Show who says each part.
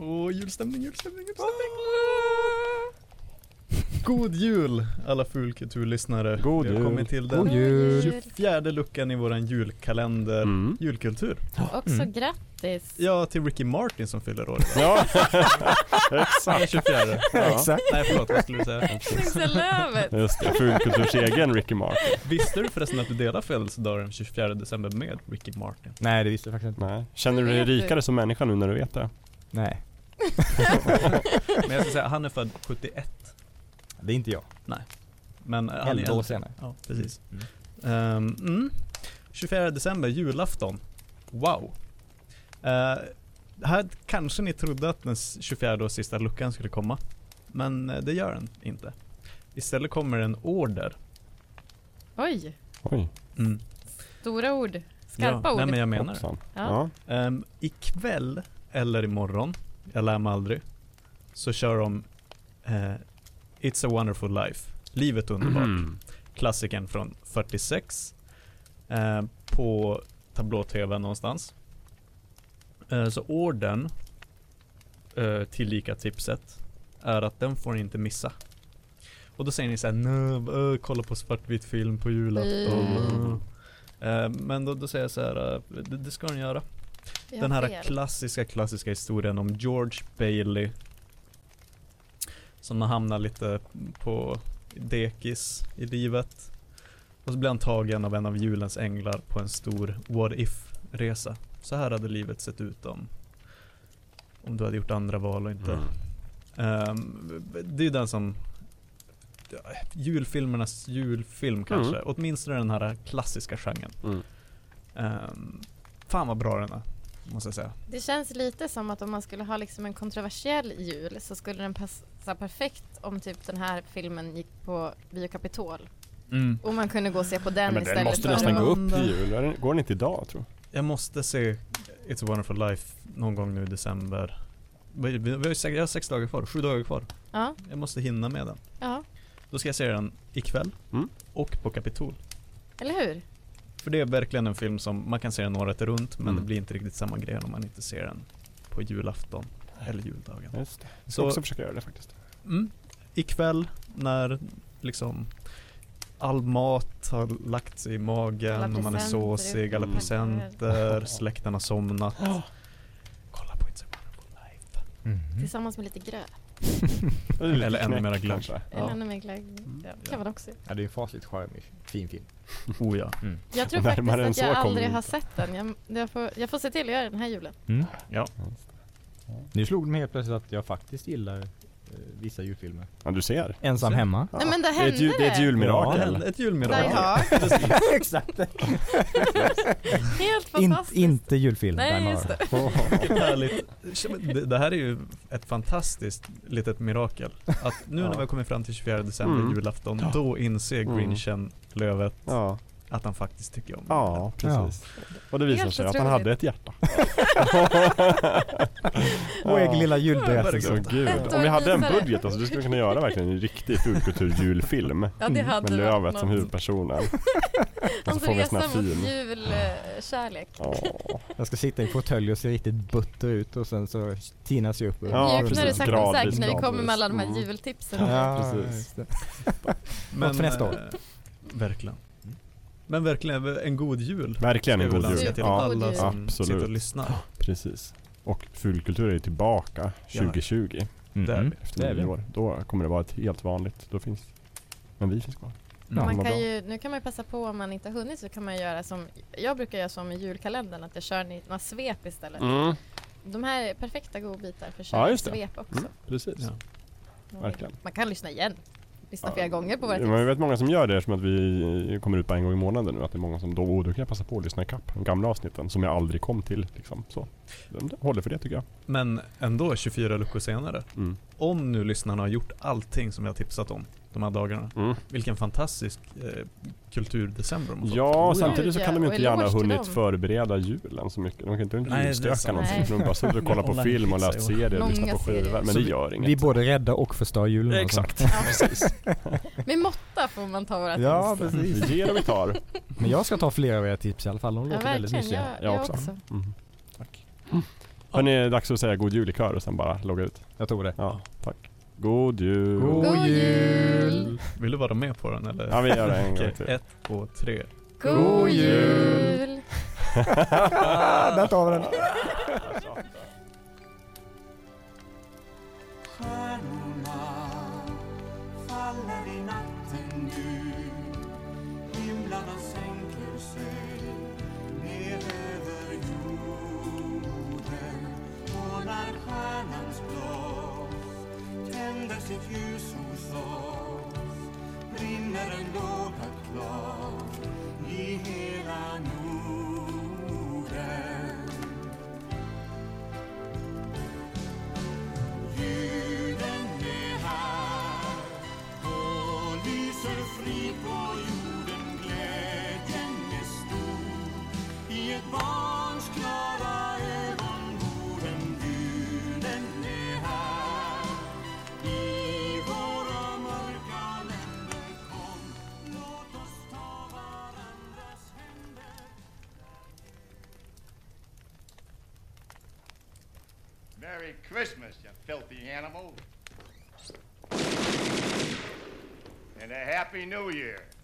Speaker 1: Åh, julstämning, julstämning, julstämning. Ah! God jul alla Fulkultur-lyssnare.
Speaker 2: God
Speaker 1: Vi
Speaker 2: jul.
Speaker 1: har kommit till den
Speaker 2: God jul.
Speaker 1: fjärde luckan i våran julkalender.
Speaker 2: Mm.
Speaker 1: Julkultur.
Speaker 3: Också
Speaker 1: Mm.
Speaker 3: grattis.
Speaker 1: Ja, till Ricky Martin som fyller år.
Speaker 2: Ja,
Speaker 1: Han är 24.
Speaker 2: exakt.
Speaker 1: Nej, förlåt, vad skulle du säga?
Speaker 3: Kungslövet.
Speaker 2: Just det, fulkulturs egen Ricky Martin.
Speaker 1: Visste du förresten att du delar födelsedagar den 24 december med Ricky Martin?
Speaker 4: Nej, det visste jag faktiskt inte.
Speaker 2: Nej. Känner du dig rikare som människa nu när du vet det?
Speaker 4: Nej,
Speaker 1: Men jag ska säga, han är född 71,
Speaker 4: det är inte jag.
Speaker 1: men eh, han är
Speaker 4: Elva år
Speaker 1: äldre.
Speaker 4: senare.
Speaker 1: Ja, precis. Ehm, mm. 24 december, julafton. Wow. Eh, här kanske ni trodde att den s- 24 och sista luckan skulle komma. Men eh, det gör den inte. Istället kommer en order.
Speaker 3: Oj,
Speaker 2: Oj,
Speaker 1: Mm.
Speaker 3: stora ord. Skarpa
Speaker 1: ja,
Speaker 3: ord.
Speaker 1: Nej men jag menar det.
Speaker 2: hoppsan.
Speaker 3: Ja.
Speaker 2: Ja.
Speaker 1: Um, ikväll eller imorgon, jag lär mig aldrig, så kör de eh, It's a wonderful life. Livet är underbart.
Speaker 2: Mm.
Speaker 1: klassikern från 46 eh, på tablå-tv någonstans. Eh, så orden eh, tillika tipset är att den får ni inte missa. Och då säger ni såhär, nej, eh, kolla på svartvit film på julafton.
Speaker 2: Mm.
Speaker 1: Eh, men då, då säger jag såhär, eh, det, det ska ni göra.
Speaker 3: Jag
Speaker 1: Den
Speaker 3: har
Speaker 1: här
Speaker 3: fel.
Speaker 1: klassiska, klassiska historien om George Bailey. Som hamnar lite på dekis i livet. Och så blir han tagen av en av julens änglar på en stor what if-resa. Så här hade livet sett ut om, om du hade gjort andra val och inte.
Speaker 2: Mm.
Speaker 1: Ehm, det är den som ja, Julfilmernas julfilm kanske. Åtminstone den här klassiska genren.
Speaker 2: Mm.
Speaker 1: Um, fan vad bra den är, måste jag säga.
Speaker 3: Det känns lite som att om man skulle ha liksom en kontroversiell jul så skulle den passa perfekt om typ den här filmen gick på Bio Capitol. Och man kunde gå och se på
Speaker 2: Ja,
Speaker 3: den
Speaker 2: men
Speaker 3: istället
Speaker 2: den måste
Speaker 3: för
Speaker 2: nästan
Speaker 3: att-
Speaker 2: gå upp i jul. Är den- Går den inte idag tror
Speaker 1: Jag måste se It's a wonderful life någon gång nu i december. Vi, vi, vi har, ju sex- jag har sex dagar kvar, sju dagar kvar.
Speaker 3: Ja,
Speaker 1: Jag måste hinna med den.
Speaker 3: ja,
Speaker 1: Då ska jag se den ikväll
Speaker 2: Mm.
Speaker 1: och på Kapitol.
Speaker 3: eller
Speaker 1: Mm.
Speaker 3: hur?
Speaker 1: För det är verkligen en film som man kan se den året runt men
Speaker 2: Mm.
Speaker 1: det blir inte riktigt samma grej om man inte ser den på julafton eller juldagen.
Speaker 2: jag? Just det. Jag ska
Speaker 1: Så-
Speaker 2: också försöka göra det faktiskt.
Speaker 1: Mm. Ikväll när liksom all mat har lagt sig i magen
Speaker 3: Alla
Speaker 1: och man är
Speaker 3: presenter är
Speaker 1: såsig, alla
Speaker 2: uppe.
Speaker 1: presenter, släkten har somnat. Kolla på It's a wonderful life.
Speaker 4: Mhm.
Speaker 3: Tillsammans med lite gröt.
Speaker 2: Det är lite
Speaker 1: Eller ännu
Speaker 2: knäck,
Speaker 1: mera glögg.
Speaker 2: kanske.
Speaker 3: Eller
Speaker 1: Ja.
Speaker 3: ännu mer glögg. Ja,
Speaker 1: Mm. Ja.
Speaker 3: kan man också.
Speaker 4: Ja, det är en fasligt charmig, fin film.
Speaker 1: Oh ja.
Speaker 3: Jag tror
Speaker 2: Närmare än
Speaker 3: faktiskt att
Speaker 2: så
Speaker 3: jag
Speaker 2: kommer
Speaker 3: aldrig
Speaker 2: vi
Speaker 3: har
Speaker 2: inte.
Speaker 3: sett den. Jag, jag, får, jag får se till att göra den här julen.
Speaker 4: Nu slog det mig helt plötsligt att jag faktiskt gillar eh, vissa julfilmer.
Speaker 2: Ja, du ser.
Speaker 4: Ensam
Speaker 1: Se.
Speaker 4: hemma.
Speaker 2: Ja.
Speaker 3: Nej men det
Speaker 2: Det är ett,
Speaker 3: hände
Speaker 2: ju- det är ett
Speaker 1: Det
Speaker 2: julmirakel.
Speaker 1: hände ett
Speaker 3: Die
Speaker 1: julmirakel.
Speaker 3: Hard.
Speaker 4: Exakt!
Speaker 3: Helt
Speaker 4: In,
Speaker 3: fantastiskt.
Speaker 4: inte julfilm.
Speaker 3: Nej,
Speaker 4: där man-
Speaker 3: just det.
Speaker 1: Vilket härligt. Det- Det här är ju ett fantastiskt litet mirakel. Att nu när vi har kommit fram till 24 december,
Speaker 2: Mm.
Speaker 1: julafton, då inser
Speaker 2: Mm.
Speaker 1: Grinchen, lövet,
Speaker 2: Ja,
Speaker 1: att han faktiskt tycker om julen.
Speaker 2: ja precis. Och det visar
Speaker 3: Helt
Speaker 2: sig att han
Speaker 3: otroligt.
Speaker 2: hade ett hjärta.
Speaker 4: Vår egen lilla
Speaker 1: verkligen.
Speaker 4: julberättelse.
Speaker 2: Åh gud.
Speaker 3: Ett
Speaker 2: Om vi
Speaker 3: år
Speaker 2: hade en
Speaker 3: visare.
Speaker 2: budget alltså, du skulle kunna göra verkligen en riktig fulkultur-julfilm.
Speaker 3: Ja, det hade
Speaker 2: Med
Speaker 3: varit
Speaker 2: Lövet
Speaker 3: något.
Speaker 2: som huvudpersonen. Alltså, Och så
Speaker 3: Hans
Speaker 2: får vi en sån
Speaker 3: resa
Speaker 2: här
Speaker 3: mot
Speaker 2: fin.
Speaker 3: julkärlek.
Speaker 2: Åh.
Speaker 4: Jag ska sitta i fåtölj och se riktigt butter ut och sen så tinas jag upp.
Speaker 2: Ja,
Speaker 3: vi öppnar det
Speaker 2: precis.
Speaker 3: sakta och
Speaker 2: Gradvis,
Speaker 3: säkert när vi kommer
Speaker 2: gradvis.
Speaker 3: med alla de här
Speaker 2: Mm.
Speaker 3: jultipsen.
Speaker 4: Ja,
Speaker 2: precis.
Speaker 4: just det.
Speaker 1: Men,
Speaker 4: Något för nästa år.
Speaker 1: eh, Verkligen. Men verkligen, en god jul.
Speaker 2: Mm. Verkligen en god
Speaker 1: Skulle jag vilja
Speaker 2: jul.
Speaker 1: säga Till
Speaker 2: Ja,
Speaker 3: God
Speaker 1: alla
Speaker 3: jul.
Speaker 1: som
Speaker 2: Absolut.
Speaker 1: sitter och lyssnar.
Speaker 2: precis. Och fulkultur är ju tillbaka 2020.
Speaker 1: Där.
Speaker 4: Mm. Det
Speaker 2: Efter
Speaker 4: är vi.
Speaker 2: nio år. Då kommer det vara ett helt vanligt. Då finns men vi finns kvar.
Speaker 1: Ja,
Speaker 3: Man
Speaker 2: vad
Speaker 3: kan
Speaker 2: bra.
Speaker 3: ju, nu kan man ju passa på om man inte har hunnit så kan man göra som jag brukar göra som i julkalendern att jag kör ni- några svep istället. De här är perfekta godbitar för att köra
Speaker 2: Mm. Ja, just det.
Speaker 3: svep också.
Speaker 2: Mm, precis.
Speaker 1: Ja.
Speaker 3: Man-
Speaker 2: verkligen.
Speaker 3: Man kan lyssna igen. Lyssna
Speaker 2: Ja,
Speaker 3: flera gånger på våra
Speaker 2: Men jag
Speaker 3: tips.
Speaker 2: vet många som gör det eftersom att vi kommer ut bara en gång i månaden nu. Att det är många som då, åh, då kan jag passa på att lyssna ikapp de gamla avsnitten som jag aldrig kom till. Liksom. Så. Det håller för det tycker jag.
Speaker 1: Men ändå 24 luckor senare.
Speaker 2: Mm.
Speaker 1: Om nu lyssnarna har gjort allting som jag har tipsat om de här dagarna.
Speaker 2: Mm.
Speaker 1: Vilken fantastisk eh, kulturdecember de har fått. Oh,
Speaker 2: Ja,
Speaker 3: ja.
Speaker 2: samtidigt så kan de ju
Speaker 3: Och
Speaker 2: inte gärna ha
Speaker 3: eloge till
Speaker 2: hunnit
Speaker 3: dem.
Speaker 2: förbereda julen så mycket. De kan inte
Speaker 1: Nej, det är
Speaker 2: julstöka
Speaker 1: sant.
Speaker 2: någonting.
Speaker 3: Nej.
Speaker 2: För de bara suttit och kollat på
Speaker 1: Online
Speaker 2: film och
Speaker 1: pizza
Speaker 2: läst
Speaker 1: i år.
Speaker 2: serier och lyssnat
Speaker 3: Långa
Speaker 2: på skivor.
Speaker 3: serier.
Speaker 2: Men
Speaker 1: Så
Speaker 2: det
Speaker 1: vi-
Speaker 2: gör
Speaker 4: Vi
Speaker 2: inget.
Speaker 4: både räddar och förstör julen. alltså.
Speaker 2: Exakt.
Speaker 3: Med måtta får man ta våra
Speaker 4: Ja,
Speaker 3: tips.
Speaker 4: precis.
Speaker 2: Vi ger och vi tar.
Speaker 4: Men jag ska ta flera av era tips i alla fall. De
Speaker 3: Ja,
Speaker 4: låter väldigt
Speaker 3: verkligen.
Speaker 1: Mm.
Speaker 4: mysiga.
Speaker 3: Jag,
Speaker 2: Jag
Speaker 3: jag
Speaker 2: också.
Speaker 3: också.
Speaker 2: Mm. Hörni, det är dags att säga god jul i kör och sen bara logga ut.
Speaker 4: Jag tror det.
Speaker 2: Ja, tack. God jul.
Speaker 4: God
Speaker 3: God jul!
Speaker 4: jul!
Speaker 1: Vill du vara med på den eller?
Speaker 2: Ja, vi gör det en gång
Speaker 1: Okej,
Speaker 2: till.
Speaker 1: ett, två, tre.
Speaker 3: God jul!
Speaker 4: Där tar vi den.
Speaker 5: Stjärnorna faller i natten gul Himlarna sänker sig ner över jorden Och när stjärnans blås tänder sitt ljus hos oss brinner en låga klar i hela Norden Julen är här och lyser fri på jorden. Glädjen är stor i ett barns klara ögon. Våren, julen är här i våra mörka länder. Kom, låt oss ta varandras händer.
Speaker 6: Merry Christmas, you filthy animal. And a Happy New Year.